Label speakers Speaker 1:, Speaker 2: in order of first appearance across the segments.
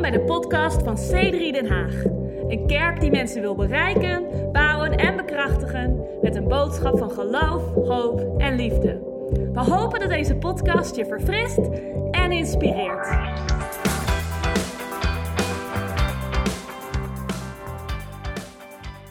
Speaker 1: bij de podcast van C3 Den Haag. Een kerk die mensen wil bereiken, bouwen en bekrachtigen met een boodschap van geloof, hoop en liefde. We hopen dat deze podcast je verfrist en inspireert.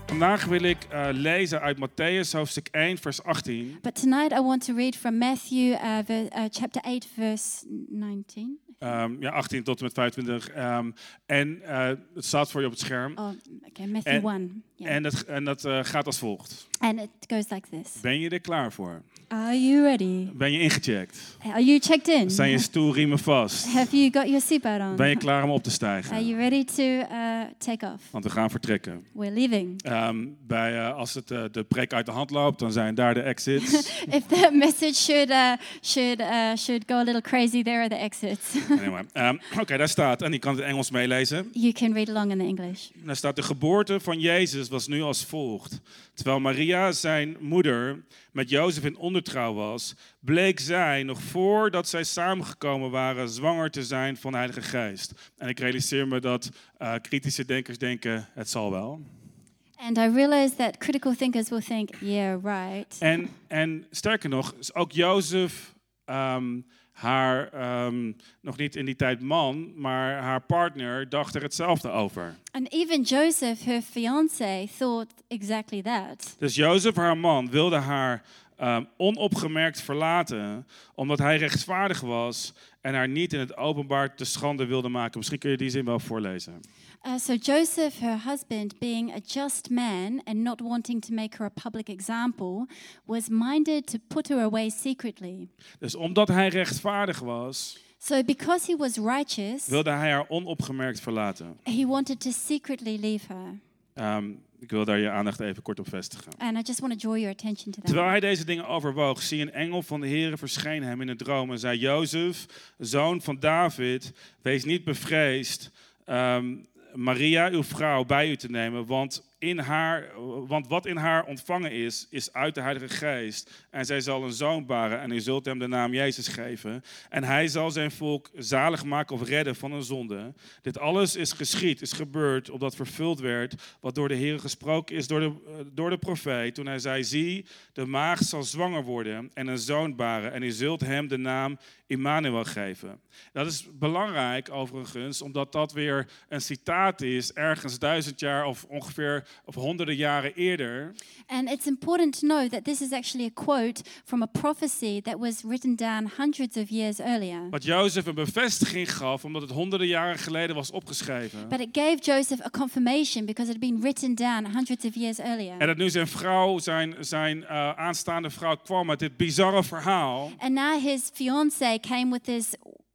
Speaker 2: Vandaag wil ik eh, lezen uit Matthäus hoofdstuk 1, vers 18.
Speaker 3: But tonight I want to read from Matthew uh, ver- uh, chapter 8, verse 19.
Speaker 2: Ehm, ja, 18 tot en met 25. ehm, en eh, het staat voor je op het scherm.
Speaker 3: Oh, okay, Matthew
Speaker 2: And-
Speaker 3: 1. Yeah.
Speaker 2: En dat, en dat eh, gaat als volgt.
Speaker 3: and it goes like this
Speaker 2: Ben je er klaar voor?
Speaker 3: Are you ready?
Speaker 2: Ben je ingecheckt?
Speaker 3: Are you checked in?
Speaker 2: Zijn je stoelriemen vast?
Speaker 3: Have you got your seatbelt on?
Speaker 2: Ben je klaar om op te
Speaker 3: Are
Speaker 2: stijgen?
Speaker 3: you ready to uh, take off?
Speaker 2: Want we gaan vertrekken.
Speaker 3: We're leaving.
Speaker 2: Ehm, bij, eh, als het, eh, de preek uit de hand loopt, dan zijn daar de exits.
Speaker 3: if the message should uh, should uh, should go a little crazy, there are the exits.
Speaker 2: Anyway, ehm, Oké, daar staat, en ik kan het Engels meelezen.
Speaker 3: you can read along in the English.
Speaker 2: Daar staat, de geboorte van Jezus was nu als volgt. Terwijl Maria, zijn moeder, met Jozef in ondertrouw was, bleek zij, nog voordat zij samengekomen waren, zwanger te zijn van de Heilige Geest. En ik realiseer me dat eh, kritische denkers denken, het zal wel.
Speaker 3: And I realize that critical thinkers will think, yeah, right.
Speaker 2: En, en sterker nog, is ook Jozef, ehm, haar, ehm, nog niet in die tijd man, maar haar partner, dacht er hetzelfde over.
Speaker 3: And even Joseph, her fiance, thought exactly that.
Speaker 2: Dus Jozef, haar man, wilde haar ehm, onopgemerkt verlaten, omdat hij rechtvaardig was en haar niet in het openbaar te schande wilde maken. Misschien kun je die zin wel voorlezen.
Speaker 3: Uh, so Joseph, her husband, being a just man and not wanting to make her a public example, was minded to put her away secretly.
Speaker 2: Dus omdat hij rechtvaardig was,
Speaker 3: So because he was righteous,
Speaker 2: wilde hij haar onopgemerkt verlaten.
Speaker 3: he wanted to secretly leave her.
Speaker 2: Ehm, ik wil daar je aandacht even kort op vestigen.
Speaker 3: And I just want to draw your attention to that.
Speaker 2: Terwijl hij deze dingen overwoog, zie een engel van de Heere verscheen hem in een droom en zei: Jozef, zoon van David, wees niet bevreesd ehm, Maria, uw vrouw, bij u te nemen, want, in haar, want wat in haar ontvangen is, is uit de Heilige Geest. En zij zal een zoon baren en u zult hem de naam Jezus geven. En hij zal zijn volk zalig maken of redden van een zonde. Dit alles is geschied, is gebeurd, opdat vervuld werd wat door de Heer gesproken is door de, eh, door de profeet. Toen hij zei, zie, de maagd zal zwanger worden en een zoon baren en u zult hem de naam Immanuel geven. Dat is belangrijk overigens, omdat dat weer een citaat is ergens duizend jaar of ongeveer of honderden jaren eerder.
Speaker 3: And it's important to know that this is actually a quote from a prophecy that was written down hundreds of years earlier.
Speaker 2: Wat Jozef een bevestiging gaf, omdat het honderden jaren geleden was opgeschreven.
Speaker 3: But it gave Joseph a confirmation because it had been written down hundreds of years earlier.
Speaker 2: En dat nu zijn vrouw, zijn, zijn eh, aanstaande vrouw kwam met dit bizarre verhaal.
Speaker 3: And now his fiance came with this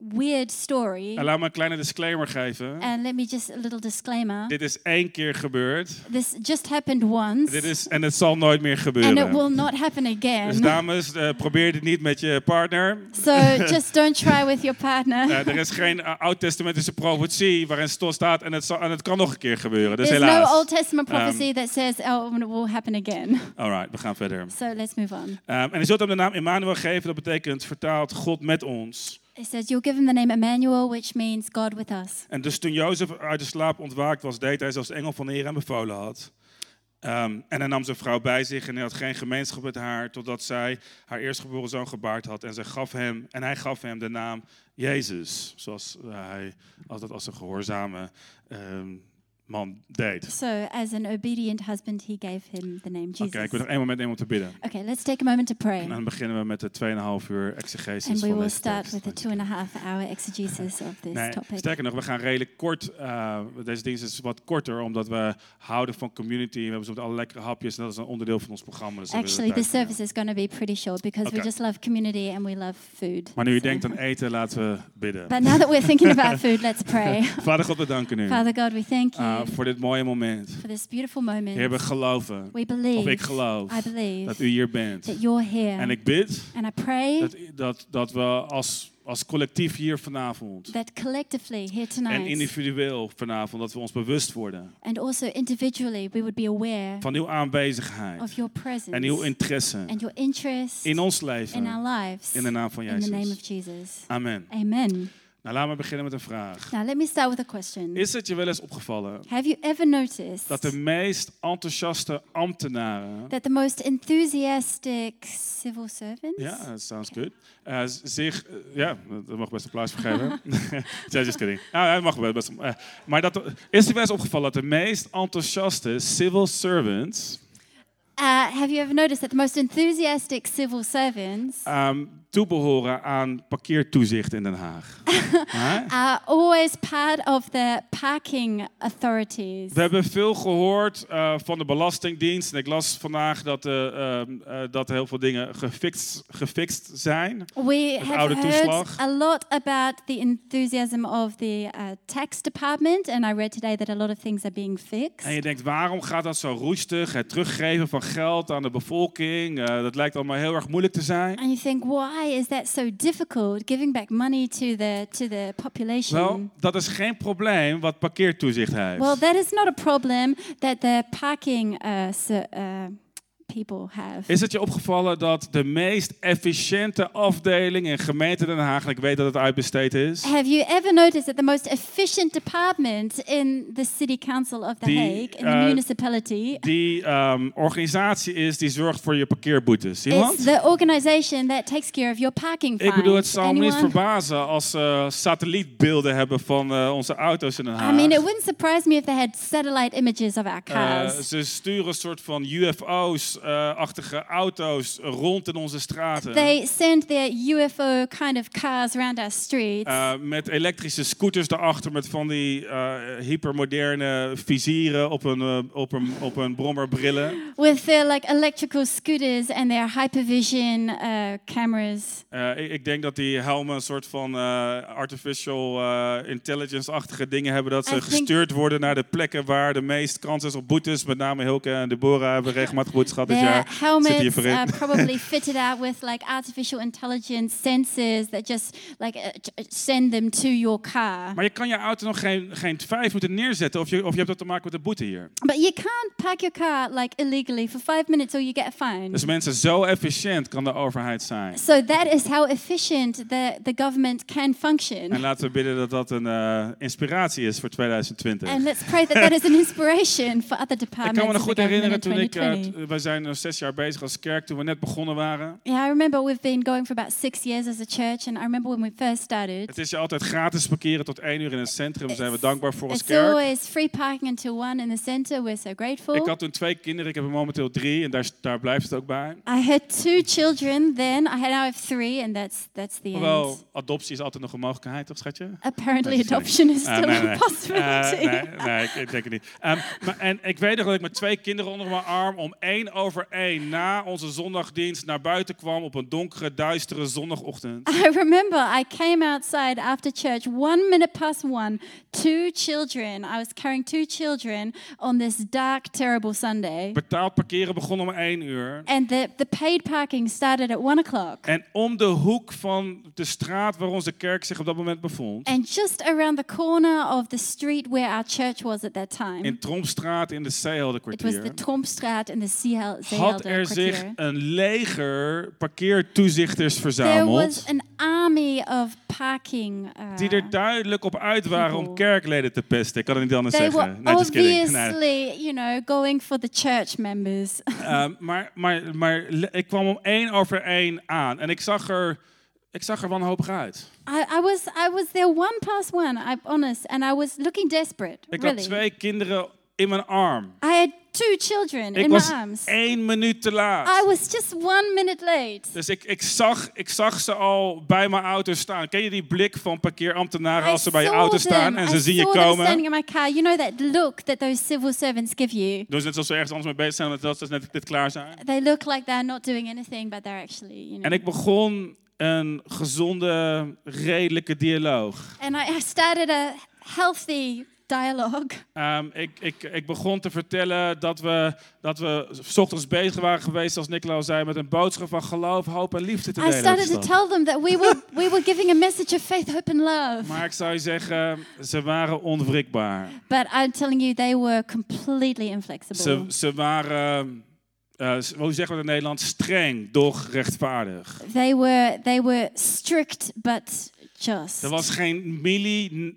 Speaker 3: weird story.
Speaker 2: En laat me een kleine disclaimer geven.
Speaker 3: And let me just a little disclaimer.
Speaker 2: Dit is één keer gebeurd.
Speaker 3: This just happened once,
Speaker 2: Dit is, en het zal nooit meer
Speaker 3: and it will
Speaker 2: gebeuren.
Speaker 3: not happen
Speaker 2: Dus
Speaker 3: again.
Speaker 2: dames, eh, probeer dit niet met je partner.
Speaker 3: So just don't try with your partner.
Speaker 2: Eh, er is geen eh, oud-testamentische profetie waarin stil staat en het, zal, en het kan nog een keer gebeuren. Dus
Speaker 3: There's no
Speaker 2: helaas.
Speaker 3: Old Testament
Speaker 2: Um,
Speaker 3: prophecy that says, oh, it will happen again.
Speaker 2: Alright, we gaan verder.
Speaker 3: So let's move on.
Speaker 2: Ehm, en u zult hem de naam Emmanuel geven. Dat betekent vertaald God met ons.
Speaker 3: It says, You'll give him the name Emmanuel, which means God with us.
Speaker 2: En dus toen Jozef uit de slaap ontwaakt was, deed hij zoals de engel van de Heer hem bevolen had. Ehm, en hij nam zijn vrouw bij zich en hij had geen gemeenschap met haar, totdat zij haar eerstgeboren zoon gebaard had. En, zij gaf hem, en hij gaf hem de naam Jezus, zoals eh, hij altijd als een gehoorzame ehm, man deed.
Speaker 3: So, as an obedient husband, he gave him the name
Speaker 2: Oké,
Speaker 3: Jesus.
Speaker 2: ik wil nog één moment nemen om te bidden.
Speaker 3: Okay, let's take a moment to pray.
Speaker 2: En dan beginnen we met de 2,5 uur exegesis
Speaker 3: And we
Speaker 2: van
Speaker 3: will
Speaker 2: deze
Speaker 3: start
Speaker 2: tekst.
Speaker 3: with the two and a half hour exegesis of this
Speaker 2: Nee,
Speaker 3: topic.
Speaker 2: sterker nog, we gaan redelijk kort. eh, deze dienst is wat korter, omdat we houden van community. We hebben zo alle lekkere hapjes en dat is een onderdeel van ons programma. Dus daar willen we
Speaker 3: Actually, the
Speaker 2: tijd voor
Speaker 3: service is going to be pretty short because we
Speaker 2: Okay.
Speaker 3: just love community and we love food.
Speaker 2: nemen. Maar nu u
Speaker 3: So-
Speaker 2: denkt aan eten, laten we bidden.
Speaker 3: eh, But now that we're thinking about food, let's pray.
Speaker 2: Vader God, we danken u
Speaker 3: Father God, we thank you
Speaker 2: eh, voor dit mooie moment.
Speaker 3: for this beautiful
Speaker 2: Heer, we
Speaker 3: moment.
Speaker 2: geloven
Speaker 3: We believe,
Speaker 2: ik geloof
Speaker 3: I believe,
Speaker 2: dat u hier bent.
Speaker 3: that you're here.
Speaker 2: En ik bid
Speaker 3: and I pray
Speaker 2: dat, dat, dat we als, als collectief hier vanavond
Speaker 3: that collectively here
Speaker 2: en
Speaker 3: tonight
Speaker 2: individueel vanavond, dat we ons bewust worden
Speaker 3: and also individually we would be aware
Speaker 2: van uw aanwezigheid
Speaker 3: of your presence
Speaker 2: en uw interesse
Speaker 3: and your interest
Speaker 2: in ons
Speaker 3: in our
Speaker 2: leven.
Speaker 3: lives
Speaker 2: In de naam van
Speaker 3: in the name
Speaker 2: Jezus.
Speaker 3: of Jesus.
Speaker 2: Amen.
Speaker 3: Amen.
Speaker 2: Nou, laat me beginnen met een vraag.
Speaker 3: Now, let me start with a question.
Speaker 2: Is het je wel eens opgevallen
Speaker 3: Have you ever noticed
Speaker 2: dat de meest enthousiaste ambtenaren,
Speaker 3: that the most enthusiastic civil servants
Speaker 2: ja, that sounds good, Eh, z- zich, eh, ja, dat mag best een plaats vergeven. just kidding. Nou, hij mag wel best. een- eh, maar dat, is het je wel eens opgevallen dat de meest enthousiaste civil servants
Speaker 3: Uh, have you ever noticed that the most enthusiastic civil servants
Speaker 2: ehm, toebehoren aan parkeertoezicht in Den Haag? Hè?
Speaker 3: are always part of the parking authorities?
Speaker 2: We hebben veel gehoord eh, van de Belastingdienst. En ik las vandaag dat, eh, ehm, eh, dat heel veel dingen gefixt, gefixt zijn.
Speaker 3: We
Speaker 2: Het
Speaker 3: have
Speaker 2: oude
Speaker 3: heard
Speaker 2: toeslag.
Speaker 3: a lot about the enthusiasm of the uh, tax department, and I read today that a lot of things are being fixed.
Speaker 2: En je denkt, waarom gaat dat zo roestig? Het teruggeven van geld aan de bevolking, eh, dat lijkt allemaal heel erg moeilijk te zijn.
Speaker 3: And you think, why is that so difficult? Giving back money to the to the population.
Speaker 2: Wel, dat is geen probleem wat parkeertoezicht heeft.
Speaker 3: Well, that is not a problem that the parking uh, ser- uh, people have.
Speaker 2: is het je opgevallen dat de meest efficiënte afdeling in gemeente Den Haag, en ik weet dat het uitbesteed is,
Speaker 3: Have you ever noticed that the most efficient department in the city council of The
Speaker 2: Die,
Speaker 3: Hague, in the
Speaker 2: eh,
Speaker 3: municipality,
Speaker 2: die ehm, organisatie is die zorgt voor je parkeerboetes? Zie iemand?
Speaker 3: is the organization that takes care of your parking fines?
Speaker 2: Ik bedoel, het zal me niet
Speaker 3: Anyone?
Speaker 2: verbazen als ze satellietbeelden hebben van eh, onze auto's in Den Haag.
Speaker 3: I mean, it wouldn't surprise me if they had satellite images of our
Speaker 2: Eh,
Speaker 3: cars.
Speaker 2: ze sturen een soort van UFO's-achtige eh, auto's rond in onze straten.
Speaker 3: they send their UFO kind of cars around our streets.
Speaker 2: Eh, met elektrische scooters daarachter, met van die eh, hypermoderne vizieren op een, eh, op een, op een brommerbrillen.
Speaker 3: with their like electrical scooters and their hypervision uh, cameras.
Speaker 2: Eh, ik, ik denk dat die helmen een soort van eh, artificial eh, intelligence-achtige dingen hebben. Dat
Speaker 3: I
Speaker 2: ze
Speaker 3: think-
Speaker 2: gestuurd worden naar de plekken waar de meest kans is op boetes. Met name Hilke en Deborah hebben regelmatig boetes gehad dit
Speaker 3: Their
Speaker 2: jaar. Zitten
Speaker 3: helmets
Speaker 2: hiervoor in.
Speaker 3: are probably fitted out with like artificial intelligence sensors that just like uh, j- uh, send them to your car.
Speaker 2: Maar je kan je auto nog geen, geen vijf minuten neerzetten of je, of je hebt dat te maken met de boete hier.
Speaker 3: But you can't park your car like illegally for five minutes or you get a fine.
Speaker 2: Dus mensen, zo efficiënt kan de overheid zijn.
Speaker 3: So that is how efficient the, the government can
Speaker 2: En
Speaker 3: function.
Speaker 2: laten we bidden dat dat een eh, inspiratie is voor 2020.
Speaker 3: And let's pray that that is an inspiration for other
Speaker 2: ik
Speaker 3: departments.
Speaker 2: kan me nog
Speaker 3: of the
Speaker 2: goed herinneren toen
Speaker 3: government in
Speaker 2: ik, eh,
Speaker 3: 2020.
Speaker 2: t- wij zijn nog zes jaar bezig als kerk, toen we net begonnen waren.
Speaker 3: Yeah, I remember we've been going for about six years as a church, and I remember when we first started.
Speaker 2: Het is je altijd gratis parkeren tot één uur in het centrum. Daar zijn we dankbaar voor als
Speaker 3: It's
Speaker 2: kerk.
Speaker 3: always free parking until one in the center. We're so
Speaker 2: Ik
Speaker 3: grateful.
Speaker 2: had toen twee kinderen, ik heb er momenteel drie en daar, daar blijft het ook bij.
Speaker 3: I had two children then. I had now have three, and that's that's the end.
Speaker 2: Hoewel, adoptie is altijd nog een mogelijkheid, toch schatje?
Speaker 3: Apparently,
Speaker 2: Nee, sorry.
Speaker 3: adoption is
Speaker 2: Ah,
Speaker 3: still
Speaker 2: nee, nee.
Speaker 3: a
Speaker 2: Eh,
Speaker 3: possibility.
Speaker 2: nee, nee, ik- ik denk het niet. Ehm, maar, en ik weet nog dat ik met twee kinderen onder mijn arm om één over één na onze zondagdienst naar buiten kwam op een donkere, duistere zondagochtend.
Speaker 3: I remember I came outside after church one minute past one, two children. I was carrying two children on this dark, terrible Sunday.
Speaker 2: Betaald parkeren begon om één uur.
Speaker 3: And the, the paid parking started at one o'clock.
Speaker 2: En om de hoek van de straat waar onze kerk zich op dat moment bevond,
Speaker 3: And just around the corner of the street where our church was at that time,
Speaker 2: in Tromstraat in de Zeehelde
Speaker 3: it Mhm. was the
Speaker 2: kwartier,
Speaker 3: Tomstraat and the Zeehel-
Speaker 2: had er
Speaker 3: Zeehelder
Speaker 2: zich
Speaker 3: kwartier.
Speaker 2: een leger parkeertoezichters
Speaker 3: There
Speaker 2: verzameld.
Speaker 3: was an army of parking. uh,
Speaker 2: Die er duidelijk op uit waren om
Speaker 3: people.
Speaker 2: kerkleden te pesten. Ik kan het niet anders
Speaker 3: they were
Speaker 2: zeggen. Nee, just kidding. Nee.
Speaker 3: obviously, you know, going for the church members.
Speaker 2: Ehm, maar, maar, maar le- ik kwam om één over één aan. En ik zag er, ik zag er wanhopig uit.
Speaker 3: I, I was I was there one past one. I'm honest, and I was looking desperate.
Speaker 2: Ik had
Speaker 3: really,
Speaker 2: twee kinderen in mijn arm.
Speaker 3: I had two children
Speaker 2: Ik
Speaker 3: in my
Speaker 2: was
Speaker 3: arms.
Speaker 2: één minuut te laat.
Speaker 3: I was just one minute late.
Speaker 2: Dus ik, ik, zag, ik zag ze al bij mijn auto staan. Ken je die blik van parkeerambtenaren als ze bij je
Speaker 3: saw
Speaker 2: auto
Speaker 3: them.
Speaker 2: staan en ze
Speaker 3: I
Speaker 2: zien je
Speaker 3: saw them
Speaker 2: komen?
Speaker 3: standing in my car. You know that look that those civil servants give you.
Speaker 2: Dus net als we ergens anders mee bezig zijn, dat- dat ze net dit klaar zijn.
Speaker 3: They look like they're not doing anything, but they're actually, you know.
Speaker 2: En ik begon een gezonde, redelijke dialoog.
Speaker 3: And I, I started a healthy dialogue.
Speaker 2: Ehm, ik, ik, ik begon te vertellen dat we, dat we s ochtends bezig waren geweest, als Nicolaas zei, met een boodschap van geloof, hoop en liefde te
Speaker 3: I
Speaker 2: delen.
Speaker 3: started to
Speaker 2: met de stad.
Speaker 3: tell them that we were we were giving a message of faith, hope, and love.
Speaker 2: Maar ik zou je zeggen, ze waren onwrikbaar.
Speaker 3: But I'm telling you, they were completely inflexible.
Speaker 2: Ze, ze waren, eh, s- hoe zeggen we het in Nederland, streng, doch rechtvaardig.
Speaker 3: They were they were strict but just.
Speaker 2: Er was geen milli-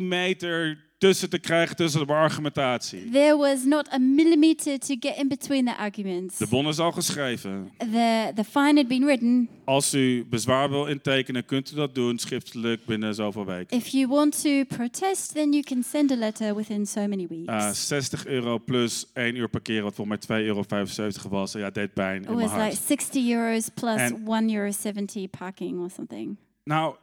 Speaker 2: millimeter tussen te krijgen tussen de argumentatie.
Speaker 3: There was not a millimeter to get in between the arguments.
Speaker 2: De bon is al geschreven.
Speaker 3: The, the fine had been written.
Speaker 2: Als u bezwaar wil intekenen, kunt u dat doen schriftelijk binnen zoveel weken.
Speaker 3: If you want to protest, then you can send a letter within so many weeks.
Speaker 2: Eh, 60 euro plus 1 uur parkeren, wat voor mij 2,75 euro was. Ja, deed pijn
Speaker 3: it
Speaker 2: in mijn
Speaker 3: was like
Speaker 2: hart.
Speaker 3: 60 euros plus
Speaker 2: And-
Speaker 3: 1 euro 70 parking or something.
Speaker 2: Nou,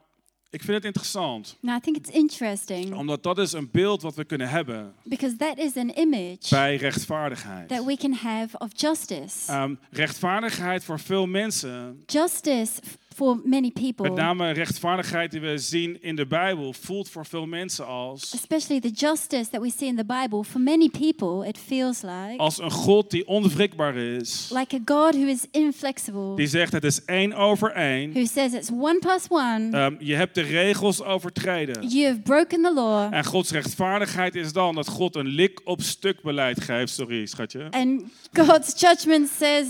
Speaker 2: ik vind het interessant.
Speaker 3: Now, I think it's interesting
Speaker 2: Omdat dat is een beeld wat we kunnen hebben
Speaker 3: because that is an image
Speaker 2: bij rechtvaardigheid.
Speaker 3: that we can have of justice.
Speaker 2: Ehm, rechtvaardigheid voor veel mensen,
Speaker 3: Justice f- for many
Speaker 2: met
Speaker 3: people,
Speaker 2: name rechtvaardigheid die we zien in de Bijbel, voelt voor veel mensen als,
Speaker 3: especially the justice that we see in the Bible, for many people, it feels like
Speaker 2: als een God die onwrikbaar is.
Speaker 3: like a God who is inflexible,
Speaker 2: Die zegt het is één over één.
Speaker 3: who says it's one plus one,
Speaker 2: Ehm, je hebt de regels overtreden.
Speaker 3: you have broken the law.
Speaker 2: En Gods rechtvaardigheid is dan dat God een lik op stuk beleid geeft. Sorry, schatje.
Speaker 3: And God's judgment says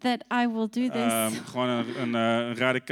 Speaker 3: that I will do this.
Speaker 2: Ehm, gewoon een, een, eh, een radicaal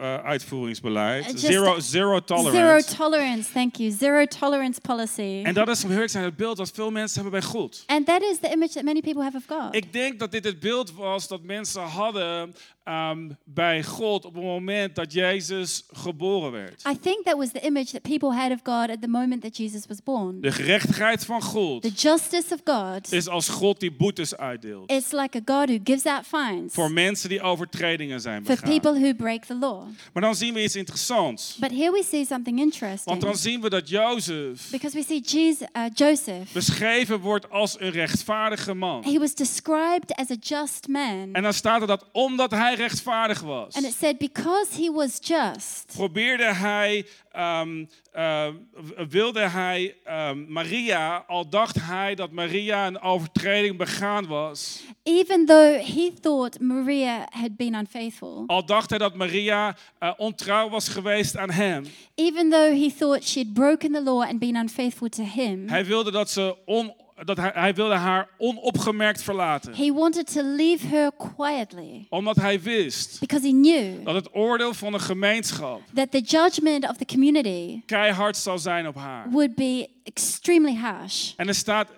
Speaker 2: eh, uitvoeringsbeleid.
Speaker 3: Just-
Speaker 2: zero, zero tolerance.
Speaker 3: Zero tolerance, thank you. Zero tolerance policy.
Speaker 2: en dat is, om heel eerlijk te zijn, het beeld dat veel mensen hebben bij God.
Speaker 3: And that is the image that many people have of God.
Speaker 2: Ik denk dat dit het beeld was dat mensen hadden ehm, bij God op het moment dat Jezus geboren werd.
Speaker 3: I think that was the image that people had of God at the moment that Jesus was born.
Speaker 2: De gerechtigheid van
Speaker 3: The
Speaker 2: God
Speaker 3: justice of God
Speaker 2: is als God die boetes uitdeelt.
Speaker 3: It's like a God who gives out fines
Speaker 2: Voor mensen die overtredingen zijn
Speaker 3: for
Speaker 2: begaan.
Speaker 3: people who break the law.
Speaker 2: Maar dan zien we iets interessants.
Speaker 3: But here we see something
Speaker 2: Want
Speaker 3: interesting
Speaker 2: dan zien we dat Jozef
Speaker 3: because we see Jesus, uh, Joseph.
Speaker 2: beschreven wordt als een rechtvaardige man.
Speaker 3: He was described as a just man,
Speaker 2: En dan staat er dat omdat hij rechtvaardig was,
Speaker 3: and it said because he was just,
Speaker 2: probeerde hij, ehm, ehm, w- wilde hij ehm, Maria, al dacht hij dat Maria een overtreding begaan was,
Speaker 3: even though he thought Maria had been unfaithful,
Speaker 2: al dacht hij dat Maria eh, ontrouw was geweest aan hem.
Speaker 3: even though he thought she had broken the law and been unfaithful to him.
Speaker 2: Hij wilde, dat ze on, dat hij, hij wilde haar onopgemerkt verlaten,
Speaker 3: He wanted to leave her quietly
Speaker 2: omdat hij wist
Speaker 3: because he knew
Speaker 2: dat het oordeel van de gemeenschap
Speaker 3: that the judgment of the community
Speaker 2: keihard zal zijn op haar.
Speaker 3: would be extremely harsh.
Speaker 2: En er staat,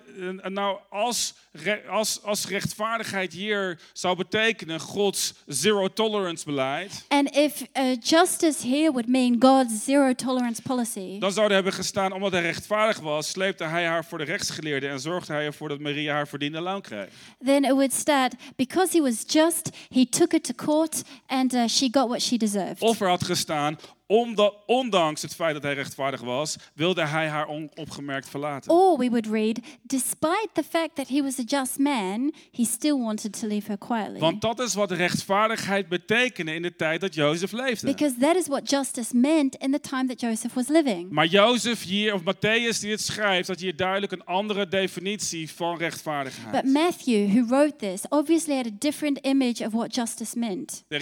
Speaker 2: eh, nou, als, re- als, als rechtvaardigheid hier zou betekenen Gods zero tolerance beleid,
Speaker 3: And if uh, justice here would mean God's zero tolerance policy,
Speaker 2: dan zou er hebben gestaan, omdat hij rechtvaardig was, sleepte hij haar voor de rechtsgeleerde en zorgde hij ervoor dat Maria haar verdiende loon krijgt.
Speaker 3: then it would start because he was just, he took her to court and uh, she got what she deserved.
Speaker 2: Of er had gestaan, omdat, ondanks het feit dat hij rechtvaardig was, wilde hij haar onopgemerkt verlaten.
Speaker 3: Or we would read, despite the fact that he was a just man, he still wanted to leave her quietly.
Speaker 2: Want dat is wat rechtvaardigheid betekende in de tijd dat Jozef leefde.
Speaker 3: Because that is what justice meant in the time that Joseph was living.
Speaker 2: Maar Jozef hier, of Matthäus die dit schrijft, had hier duidelijk een andere definitie van
Speaker 3: But
Speaker 2: rechtvaardigheid.
Speaker 3: Matthew, who wrote this, obviously had a different image of what justice meant.
Speaker 2: De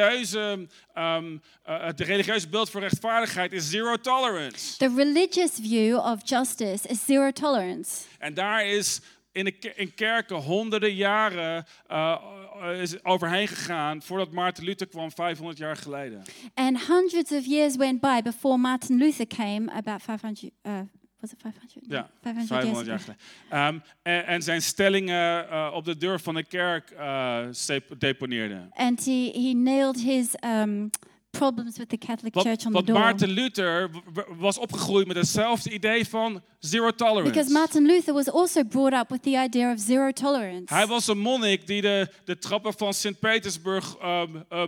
Speaker 2: religieuze, ehm, eh, het religieuze beeld van rechtvaardigheid is zero tolerance.
Speaker 3: The religious view of justice is zero tolerance.
Speaker 2: En daar is in, de, ke- in kerken honderden jaren eh, eh, is overheen gegaan voordat Maarten Luther kwam 500 jaar geleden.
Speaker 3: And hundreds of years went by before Martin Luther came, about 500, uh, was it 500?
Speaker 2: Ja,
Speaker 3: 500,
Speaker 2: 500 jaar
Speaker 3: years ago.
Speaker 2: geleden. Ehm, en, en zijn stellingen eh, op de deur van de kerk eh, sep- deponeerde.
Speaker 3: And he, he nailed his um, problems with the Catholic
Speaker 2: Want,
Speaker 3: Church on
Speaker 2: want
Speaker 3: the door.
Speaker 2: Maarten Luther w- w- was opgegroeid met hetzelfde idee van zero
Speaker 3: because
Speaker 2: tolerance.
Speaker 3: Martin Luther was also brought up with the idea of zero tolerance.
Speaker 2: Hij was een monnik die de, de trappen van Sint-Petersburg ehm, eh, eh,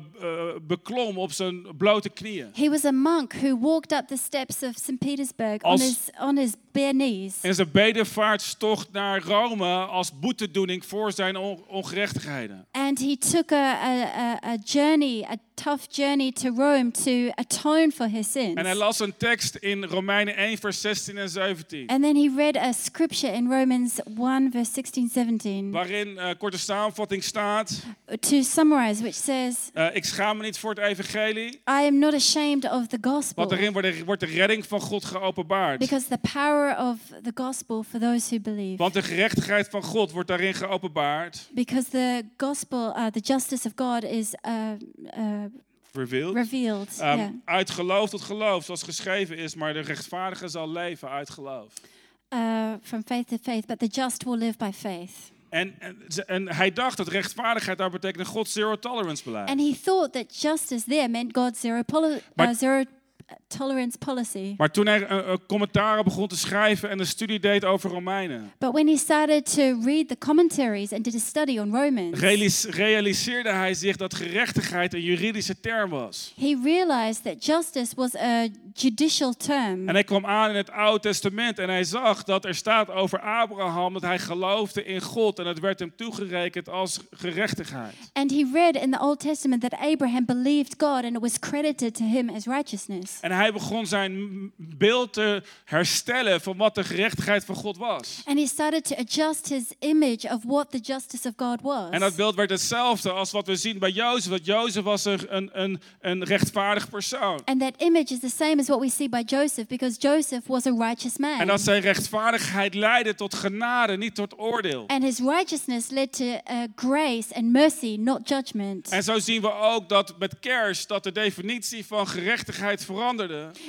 Speaker 2: beklom op zijn blote knieën.
Speaker 3: He was a monk who walked up the steps of St. Petersburg on
Speaker 2: Als-
Speaker 3: his, on his bare knees.
Speaker 2: En zijn bedevaartstocht naar Rome als boetedoening voor zijn on- ongerechtigheden.
Speaker 3: And he took a, a, a, a journey, a tough journey to Rome to atone for his sins.
Speaker 2: En hij las een tekst in Romeinen 1, vers 16 en 17.
Speaker 3: And then he read a scripture in Romans 1, verse 16, 17,
Speaker 2: Waarin eh, korte samenvatting staat:
Speaker 3: to summarize, which says,
Speaker 2: eh, Ik schaam me niet voor het Evangelie.
Speaker 3: I am not ashamed of the gospel
Speaker 2: Want daarin wordt de, wordt de redding van God geopenbaard.
Speaker 3: because the power of the gospel for those who believe.
Speaker 2: Want de gerechtigheid van God wordt daarin geopenbaard.
Speaker 3: Because the gospel, uh, the justice of God is uh, uh,
Speaker 2: revealed.
Speaker 3: revealed.
Speaker 2: Ehm,
Speaker 3: yeah.
Speaker 2: Uit geloof tot geloof, zoals geschreven is, maar de rechtvaardige zal leven uit geloof.
Speaker 3: Uh, from faith to faith, but the just will live by faith.
Speaker 2: En, en, ze- en hij dacht dat rechtvaardigheid daar betekende Gods zero tolerance beleid.
Speaker 3: And he thought that justice there meant God's zero, poli-
Speaker 2: Maar-
Speaker 3: uh, zero uh, tolerance policy.
Speaker 2: maar toen hij eh, eh, commentaren begon te schrijven en een studie deed over Romeinen,
Speaker 3: But when he started to read the commentaries and did a study on Romans,
Speaker 2: realis- realiseerde hij zich dat gerechtigheid een juridische term was.
Speaker 3: he realized that justice was a judicial term.
Speaker 2: En hij kwam aan in het Oude Testament en hij zag dat er staat over Abraham dat hij geloofde in God en het werd hem toegerekend als gerechtigheid.
Speaker 3: And he read in the Old Testament that Abraham believed God and it was credited to him as righteousness.
Speaker 2: En hij begon zijn m- beeld te herstellen van wat de gerechtigheid van God was.
Speaker 3: And he started to adjust his image of what the justice of God was.
Speaker 2: En dat beeld werd hetzelfde als wat we zien bij Jozef. Want Jozef was een, een, een, een rechtvaardig persoon.
Speaker 3: And that image is the same as what we see by Joseph because Joseph was a righteous man.
Speaker 2: En dat zijn rechtvaardigheid leidde tot genade, niet tot oordeel.
Speaker 3: And his righteousness led to uh, grace and mercy, not judgment.
Speaker 2: En zo zien we ook dat met kerst dat de definitie van gerechtigheid veranderde.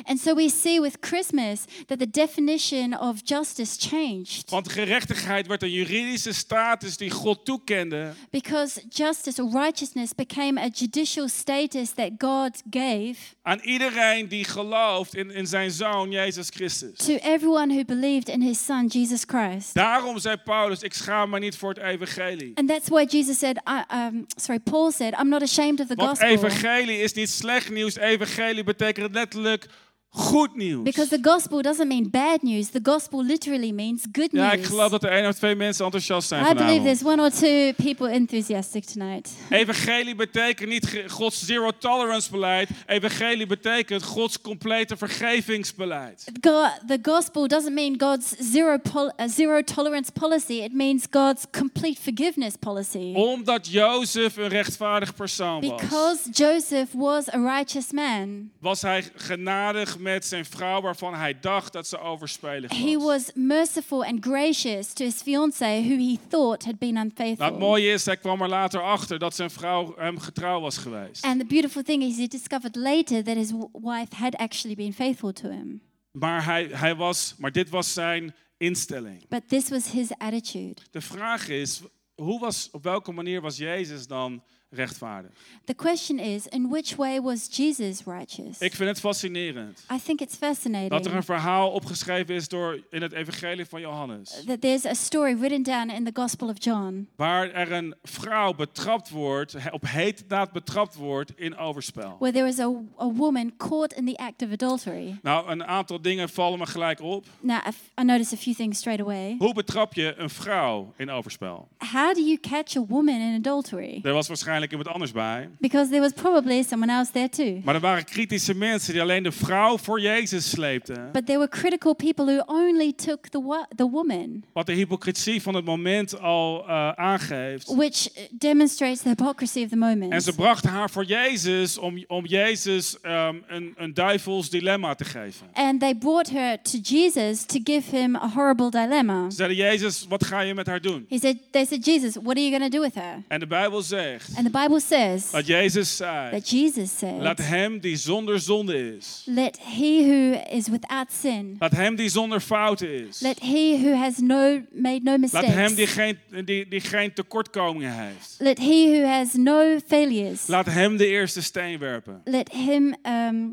Speaker 3: And so we see with Christmas that the definition of justice changed
Speaker 2: Want gerechtigheid werd een juridische status die God toekende.
Speaker 3: because justice or righteousness became a judicial status that God gave
Speaker 2: aan iedereen die gelooft in, in zijn zoon Jezus Christus.
Speaker 3: to everyone who believed in his son Jesus Christ.
Speaker 2: Daarom zei Paulus: Ik schaam me niet voor het Evangelie.
Speaker 3: And that's why Jesus said, I, um, sorry, Paul said, I'm not ashamed of the
Speaker 2: Want
Speaker 3: gospel.
Speaker 2: evangelie is niet slecht nieuws. Evangelie betekent letterlijk goed
Speaker 3: Because
Speaker 2: nieuws.
Speaker 3: the gospel doesn't mean bad news. The gospel literally means good
Speaker 2: Ja, ik
Speaker 3: news.
Speaker 2: geloof dat er één of twee mensen enthousiast zijn
Speaker 3: I believe
Speaker 2: vanavond.
Speaker 3: there's one or two people enthusiastic tonight.
Speaker 2: Evangelie betekent niet ge- Gods zero tolerance beleid. Evangelie betekent Gods complete vergevingsbeleid.
Speaker 3: God, the gospel doesn't mean God's zero, pol- uh, zero tolerance policy. It means God's complete forgiveness policy.
Speaker 2: Omdat Jozef een rechtvaardig persoon was,
Speaker 3: Because Joseph was a righteous man,
Speaker 2: was hij genadig met zijn vrouw waarvan hij dacht dat ze overspelig
Speaker 3: he
Speaker 2: was.
Speaker 3: was merciful and gracious to his fiancée, who he thought had been
Speaker 2: Nou, het
Speaker 3: unfaithful.
Speaker 2: mooie is, hij kwam er later achter dat zijn vrouw hem getrouw was geweest.
Speaker 3: And the beautiful thing is, he discovered later that his w- wife had actually been faithful to him.
Speaker 2: Maar, hij, hij was, maar dit was zijn instelling.
Speaker 3: But this was his attitude.
Speaker 2: De vraag is, hoe was, op welke manier was Jezus dan rechtvaardig?
Speaker 3: The question is, in which way was Jesus righteous?
Speaker 2: Ik vind het fascinerend
Speaker 3: I think it's
Speaker 2: dat er
Speaker 3: fascinating.
Speaker 2: een verhaal opgeschreven is door, in het evangelie van Johannes.
Speaker 3: that there's a story written down in the Gospel of John
Speaker 2: Waar er een vrouw betrapt wordt, he- op heterdaad betrapt wordt in overspel.
Speaker 3: where there was a, a woman caught in the act of adultery.
Speaker 2: Nou, een aantal dingen vallen me gelijk op.
Speaker 3: Now, I, f- I noticed a few things straight away.
Speaker 2: Hoe betrap je een vrouw in overspel?
Speaker 3: How do you catch a woman in adultery?
Speaker 2: Er was waarschijnlijk iemand anders bij.
Speaker 3: Because there was probably someone else there too.
Speaker 2: Maar er waren kritische mensen die alleen de vrouw voor Jezus sleepten.
Speaker 3: But there were critical people who only took the, wo- the woman,
Speaker 2: Wat de hypocrisie van het moment al eh, aangeeft.
Speaker 3: which demonstrates the hypocrisy of the
Speaker 2: En
Speaker 3: moment.
Speaker 2: ze brachten haar voor Jezus om, om Jezus ehm, een, een duivels dilemma te geven.
Speaker 3: And they brought her to Jesus to give him a horrible dilemma.
Speaker 2: Ze zeiden, Jezus, wat ga je met haar doen?
Speaker 3: He said, they said, Jesus, what are you going to do with her?
Speaker 2: En de Bijbel zegt
Speaker 3: And the Bible says
Speaker 2: dat Jezus zei,
Speaker 3: that Jesus
Speaker 2: laat
Speaker 3: said,
Speaker 2: hem die zonder zonde is.
Speaker 3: Let he who is without sin,
Speaker 2: Laat hem die zonder fouten is.
Speaker 3: let he who has no made no
Speaker 2: Laat hem die
Speaker 3: mistakes,
Speaker 2: geen, die, die geen tekortkomingen heeft.
Speaker 3: let he who has no failures,
Speaker 2: Laat hem de eerste steen werpen.
Speaker 3: let him um,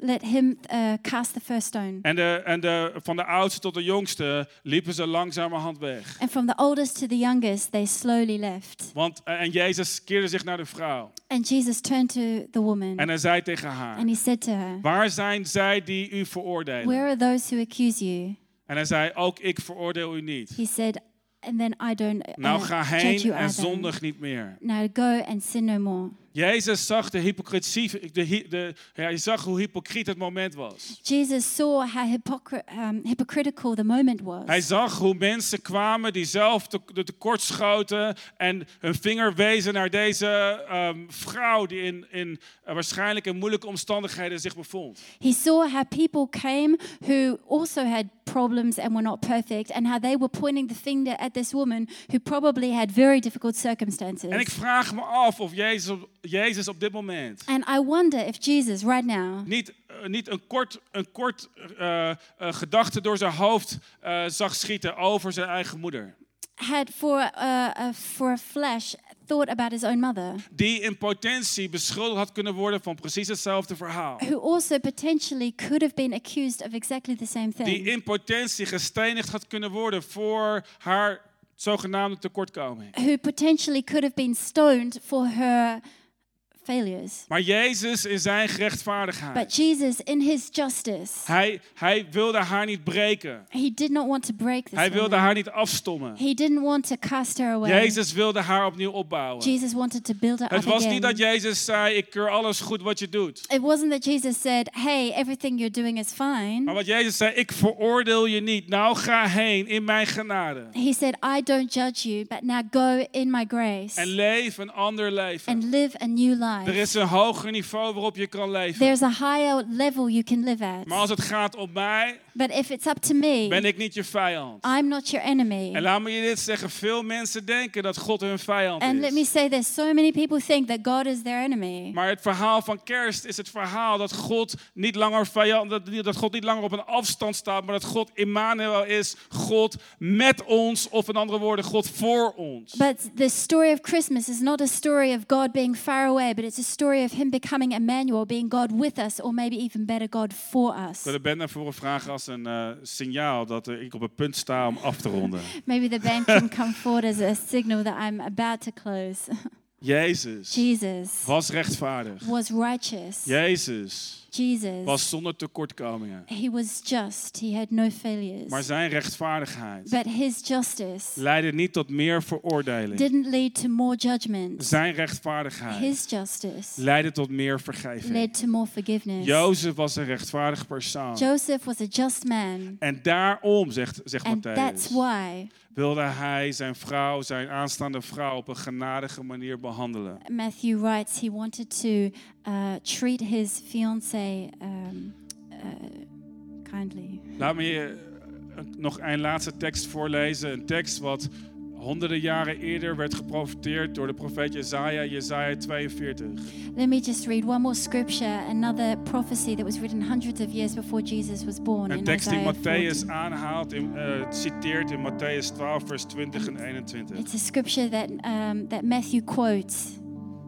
Speaker 3: let him uh, cast the first stone.
Speaker 2: En, de, en de, van de oudste tot de jongste liepen ze langzamerhand weg.
Speaker 3: And from the oldest to the youngest, they slowly left.
Speaker 2: Want, eh, en Jezus keerde zich naar de vrouw.
Speaker 3: And Jesus turned to the
Speaker 2: En
Speaker 3: woman
Speaker 2: hij zei tegen haar:
Speaker 3: and he said to her,
Speaker 2: Waar zijn zij die u
Speaker 3: Where
Speaker 2: veroordelen?
Speaker 3: are those who accuse you?
Speaker 2: En hij zei: Ook ik veroordeel u niet.
Speaker 3: He said, And then I don't uh,
Speaker 2: Nou ga
Speaker 3: judge
Speaker 2: heen
Speaker 3: you
Speaker 2: en
Speaker 3: either.
Speaker 2: zondig niet meer.
Speaker 3: Now go and sin no more.
Speaker 2: Jezus zag de hypocrisie, de, hy- de, hij zag hoe hypocriet het moment was.
Speaker 3: Jesus saw how hypocri- um, hypocritical the moment
Speaker 2: Hij
Speaker 3: was.
Speaker 2: zag hoe mensen kwamen die zelf te, de tekort schoten en hun vinger wezen naar deze ehm, vrouw die in, in eh, waarschijnlijk in moeilijke omstandigheden zich bevond.
Speaker 3: He saw how people came who also had problems and were not perfect, and how they were pointing the finger at this woman who probably had very difficult
Speaker 2: En ik
Speaker 3: circumstances.
Speaker 2: vraag me af of Jezus op, Jezus op dit moment.
Speaker 3: And I wonder if Jesus, right now,
Speaker 2: Niet, eh, niet een kort, een kort eh, eh, gedachte door zijn hoofd eh, zag schieten over zijn eigen moeder.
Speaker 3: had for, uh, uh, for a flash thought about his own mother,
Speaker 2: Die in potentie beschuldigd had kunnen worden van precies hetzelfde verhaal.
Speaker 3: who also potentially could have been accused of exactly the same
Speaker 2: Die
Speaker 3: thing.
Speaker 2: in potentie gestenigd had kunnen worden voor haar zogenaamde tekortkoming.
Speaker 3: Who potentially could have been stoned for her failures.
Speaker 2: Maar Jezus in zijn
Speaker 3: But
Speaker 2: gerechtvaardigheid.
Speaker 3: Jesus, in his justice,
Speaker 2: Hij, hij wilde haar niet breken.
Speaker 3: he did not want to break this.
Speaker 2: Hij wilde
Speaker 3: woman.
Speaker 2: haar niet afstommen.
Speaker 3: He didn't want to cast her away.
Speaker 2: Jezus wilde haar opnieuw opbouwen.
Speaker 3: Jesus wanted to build her
Speaker 2: Het
Speaker 3: up
Speaker 2: was
Speaker 3: again.
Speaker 2: niet dat Jezus zei, ik keur alles goed wat je doet.
Speaker 3: It wasn't that Jesus said, "Hey, everything you're doing is fine."
Speaker 2: Maar wat Jezus zei, ik veroordeel je niet. Nou ga heen in mijn genade.
Speaker 3: He said, "I don't judge you, but now go in my grace
Speaker 2: En leef een ander leven.
Speaker 3: and live a new life."
Speaker 2: Er is een hoger niveau waarop je kan leven.
Speaker 3: There's a higher level you can live at.
Speaker 2: Maar als het gaat om mij,
Speaker 3: But if it's up to me,
Speaker 2: ben ik niet je vijand.
Speaker 3: I'm not your
Speaker 2: En
Speaker 3: enemy.
Speaker 2: laat me je dit zeggen, veel mensen denken dat God hun vijand
Speaker 3: And let me
Speaker 2: is.
Speaker 3: say this so many people think that God is their enemy.
Speaker 2: Maar het verhaal van kerst is het verhaal dat God niet langer vijand, dat, dat God niet langer op een afstand staat, maar dat God Immanuel is, God met ons, of in andere woorden, God voor ons.
Speaker 3: But the story of Christmas is not a story of God being far away, but it's a story of Him becoming Emmanuel, being God with us, or maybe even better, God for us.
Speaker 2: Ik wil de band naar voren vragen als een eh, signaal dat eh, ik op het punt sta om af te ronden.
Speaker 3: Maybe the band can come forward as a signal that I'm about to close.
Speaker 2: Jezus
Speaker 3: Jesus
Speaker 2: was rechtvaardig.
Speaker 3: was righteous.
Speaker 2: Jezus was
Speaker 3: Jesus,
Speaker 2: zonder tekortkomingen.
Speaker 3: He was just. He had no failures.
Speaker 2: Maar zijn rechtvaardigheid
Speaker 3: But His justice
Speaker 2: leidde niet tot meer veroordeling.
Speaker 3: didn't lead to more judgment.
Speaker 2: Zijn rechtvaardigheid
Speaker 3: His justice
Speaker 2: leidde tot meer vergeving.
Speaker 3: led to more forgiveness.
Speaker 2: Jozef was een rechtvaardig persoon.
Speaker 3: Joseph was a just man.
Speaker 2: En daarom, zegt, zegt
Speaker 3: And that's
Speaker 2: Matthäus,
Speaker 3: why
Speaker 2: wilde hij zijn vrouw, zijn aanstaande vrouw, op een genadige manier behandelen.
Speaker 3: Matthew writes he wanted to uh, treat his fiancee um, uh, kindly.
Speaker 2: Laat me je eh, nog een laatste tekst voorlezen. Een tekst wat honderden jaren eerder werd geprofiteerd door de profeet Jezaja, Jezaja 42.
Speaker 3: Let me just read one more scripture, another prophecy that was written hundreds of years before Jesus was born.
Speaker 2: Een
Speaker 3: in
Speaker 2: tekst die
Speaker 3: Isaiah 40.
Speaker 2: Matthäus aanhaalt, in, eh, citeert in Matthäus 12, vers 20 en 21.
Speaker 3: It's a scripture that, um, that Matthew quotes.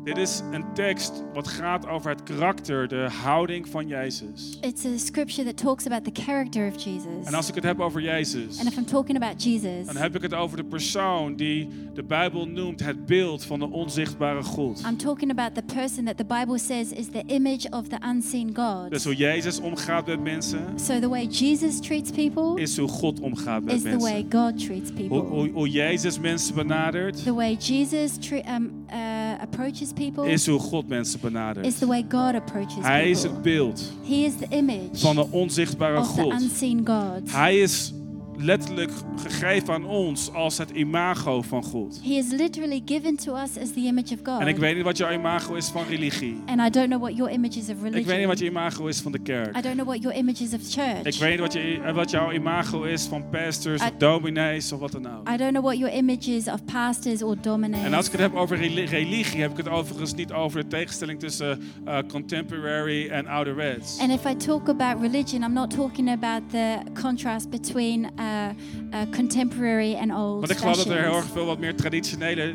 Speaker 2: Dit is een tekst wat gaat over het karakter, de houding van Jezus.
Speaker 3: It's a scripture that talks about the character of Jesus.
Speaker 2: En als ik het heb over
Speaker 3: And
Speaker 2: Jezus,
Speaker 3: if I'm talking about Jesus,
Speaker 2: dan heb ik het over de persoon die de Bijbel noemt het beeld van de onzichtbare God.
Speaker 3: I'm talking about the person that the Bible says is the image of the unseen God.
Speaker 2: Dus hoe Jezus omgaat met mensen,
Speaker 3: So the way Jesus treats people
Speaker 2: is hoe God omgaat met
Speaker 3: is the way
Speaker 2: mensen.
Speaker 3: God treats
Speaker 2: Hoe,
Speaker 3: people.
Speaker 2: hoe, hoe Jezus mensen benadert,
Speaker 3: The way Jesus tre- um, uh, approaches people
Speaker 2: is hoe God mensen benadert.
Speaker 3: is the way God approaches
Speaker 2: Hij is het
Speaker 3: people.
Speaker 2: beeld
Speaker 3: He is the image
Speaker 2: van de onzichtbare
Speaker 3: of the
Speaker 2: God.
Speaker 3: unseen God.
Speaker 2: Hij is letterlijk gegeven aan ons als het imago van God.
Speaker 3: He is literally given to us as the image of
Speaker 2: En ik
Speaker 3: God.
Speaker 2: weet niet wat jouw imago is van religie.
Speaker 3: And I don't know what your image is of
Speaker 2: Ik weet niet wat je
Speaker 3: religion.
Speaker 2: imago is van de kerk.
Speaker 3: I don't know what your image is of
Speaker 2: Ik
Speaker 3: church.
Speaker 2: weet niet wat, je, eh, wat jouw imago is van pastors of
Speaker 3: I-
Speaker 2: dominees of wat dan ook.
Speaker 3: I don't know what your image is of pastors or
Speaker 2: En als
Speaker 3: dominators.
Speaker 2: ik het heb over reli- religie, heb ik het overigens niet over de tegenstelling tussen eh, contemporary en ouderwets.
Speaker 3: And if I talk about religion, I'm not talking about the contrast between uh, uh, contemporary and old.
Speaker 2: Want ik geloof dat er heel erg
Speaker 3: fashions.
Speaker 2: veel wat meer traditionele,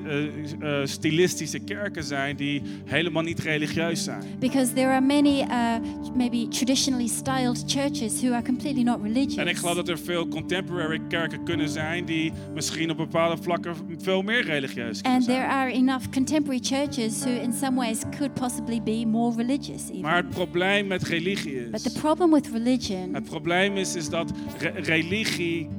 Speaker 2: eh, eh, stilistische kerken zijn die helemaal niet religieus zijn.
Speaker 3: Because there are many, uh, maybe traditionally styled churches who are completely not religious.
Speaker 2: En ik geloof dat er veel contemporary kerken kunnen zijn die misschien op bepaalde vlakken veel meer religieus kunnen
Speaker 3: And there
Speaker 2: zijn.
Speaker 3: are enough contemporary churches who, in some ways, could possibly be more religious. Even.
Speaker 2: Maar het probleem met religie
Speaker 3: But the
Speaker 2: is,
Speaker 3: problem with religion,
Speaker 2: het probleem is, is dat re- religie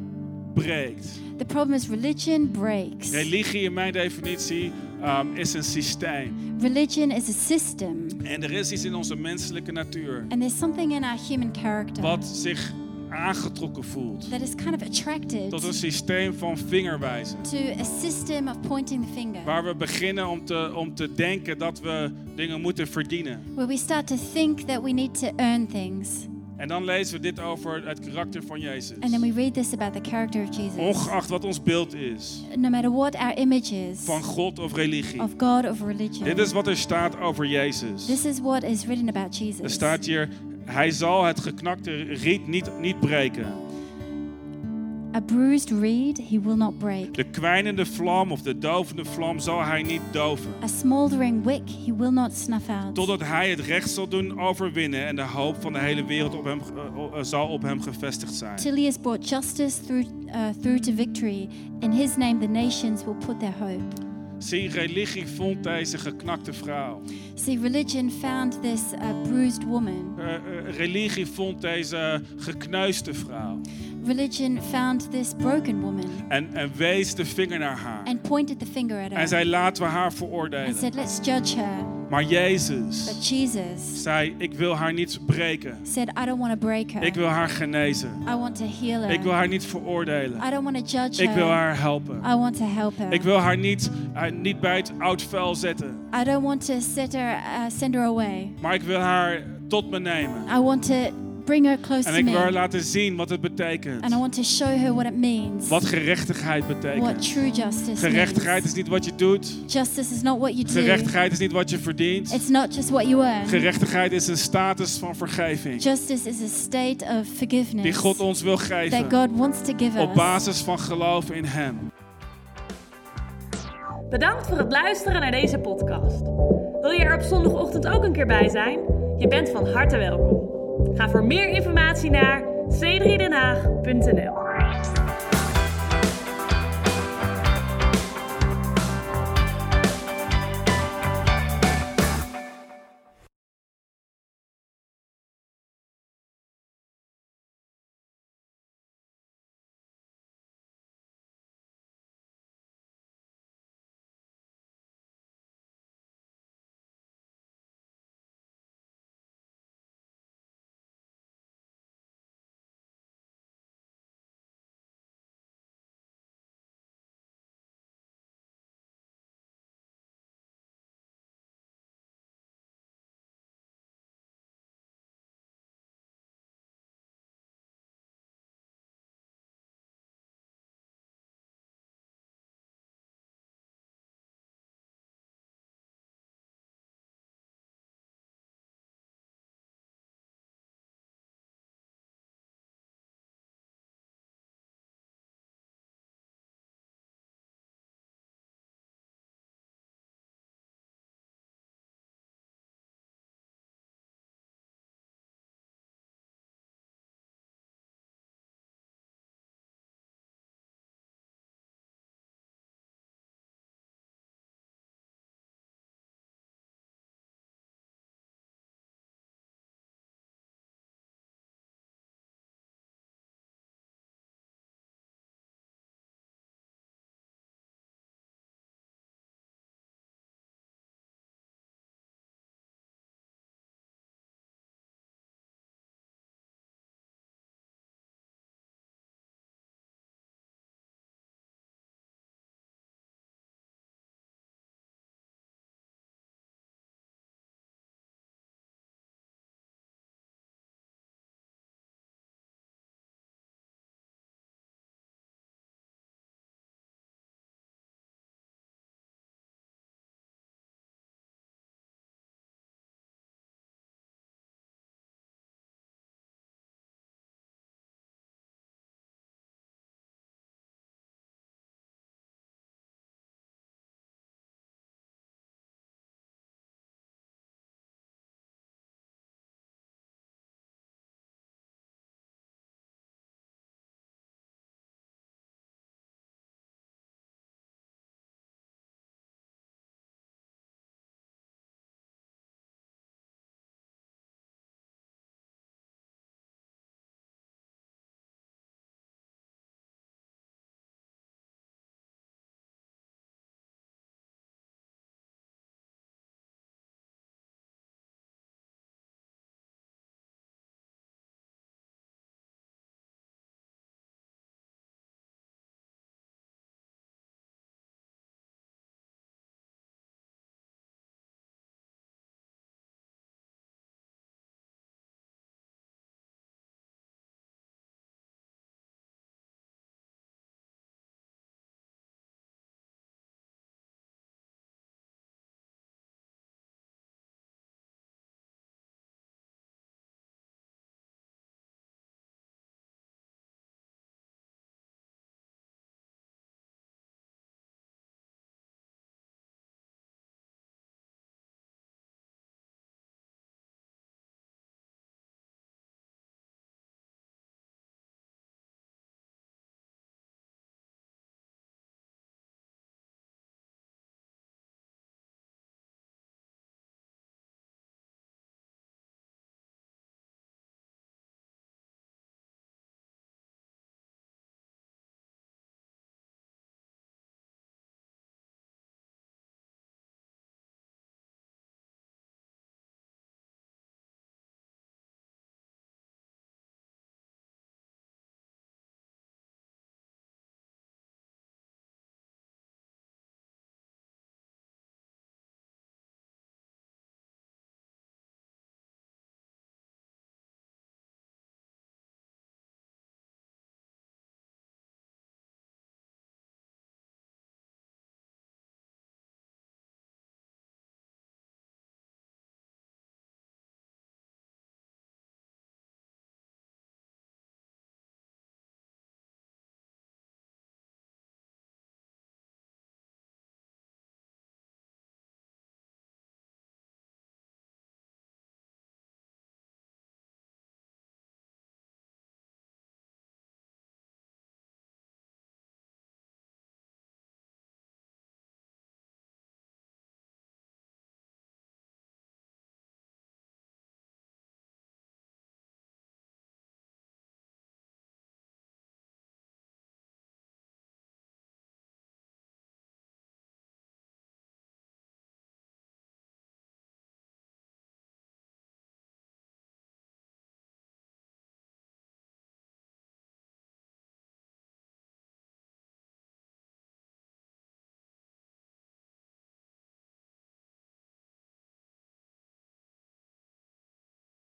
Speaker 2: breekt.
Speaker 3: the problem is religion breaks.
Speaker 2: Religie in mijn definitie ehm, is een systeem.
Speaker 3: Religion is a system,
Speaker 2: En er is iets in onze menselijke natuur
Speaker 3: and there's something in our human character
Speaker 2: wat zich aangetrokken voelt
Speaker 3: that is kind of attracted
Speaker 2: tot een systeem van vingerwijzen.
Speaker 3: to a system of pointing the finger,
Speaker 2: Waar we beginnen om te, om te denken dat we dingen moeten verdienen.
Speaker 3: where we start to think that we need to earn things.
Speaker 2: En dan lezen we dit over het karakter van Jezus.
Speaker 3: And then we read this about the character of Jesus.
Speaker 2: Ongeacht wat ons beeld is
Speaker 3: No matter what our image is
Speaker 2: van God of religie.
Speaker 3: of God, of
Speaker 2: Dit
Speaker 3: religion,
Speaker 2: is wat er staat over Jezus.
Speaker 3: this is what is written about
Speaker 2: Er
Speaker 3: Jesus.
Speaker 2: staat hier, hij zal het geknakte riet niet, niet breken.
Speaker 3: A bruised reed he will not break,
Speaker 2: De kwijnende vlam of de dovende vlam zal hij niet doven.
Speaker 3: a smoldering wick he will not snuff out,
Speaker 2: Totdat hij het recht zal doen overwinnen en de hoop van de hele wereld op hem, eh, eh, zal op hem gevestigd zijn.
Speaker 3: till he has brought justice through, uh, through to victory. In his name, the nations will put their hope.
Speaker 2: Zie, religie vond deze geknakte vrouw.
Speaker 3: See, religion found this uh, bruised woman.
Speaker 2: Eh, eh, religie vond deze gekneusde vrouw.
Speaker 3: Religion found this broken woman
Speaker 2: En, en wees de vinger naar haar.
Speaker 3: and pointed the finger at
Speaker 2: En
Speaker 3: her
Speaker 2: zei, laten we haar
Speaker 3: and
Speaker 2: veroordelen.
Speaker 3: said, Let's judge her.
Speaker 2: Maar
Speaker 3: But
Speaker 2: Jezus
Speaker 3: Jesus
Speaker 2: zei, ik wil haar niet breken.
Speaker 3: said, I don't want to break her.
Speaker 2: Ik wil haar genezen.
Speaker 3: I want to heal her.
Speaker 2: Ik wil haar niet veroordelen.
Speaker 3: I don't want to judge
Speaker 2: Ik wil
Speaker 3: her.
Speaker 2: haar helpen.
Speaker 3: I want to help her.
Speaker 2: Ik wil haar niet, eh, niet bij het oud vuil zetten.
Speaker 3: I don't want to set her, uh, send her away.
Speaker 2: Maar ik wil haar tot me nemen.
Speaker 3: I want to bring her close
Speaker 2: En
Speaker 3: to
Speaker 2: ik
Speaker 3: me.
Speaker 2: wil haar laten zien wat het
Speaker 3: And I
Speaker 2: betekent.
Speaker 3: want to show her what it means.
Speaker 2: Wat gerechtigheid
Speaker 3: what
Speaker 2: betekent.
Speaker 3: true justice
Speaker 2: Gerechtigheid is
Speaker 3: means.
Speaker 2: niet wat je doet.
Speaker 3: Justice is not what you do.
Speaker 2: Gerechtigheid is niet wat je verdient.
Speaker 3: It's not just what you earn.
Speaker 2: Gerechtigheid is een status van vergeving
Speaker 3: Justice is a state of forgiveness
Speaker 2: die God ons wil
Speaker 3: that
Speaker 2: geven
Speaker 3: God wants to give
Speaker 2: op
Speaker 3: us.
Speaker 2: basis van geloof in Hem.
Speaker 1: Bedankt voor het luisteren naar deze podcast. Wil je er op zondagochtend ook een keer bij zijn? Je bent van harte welkom. Ga voor meer informatie naar c3denhaag.nl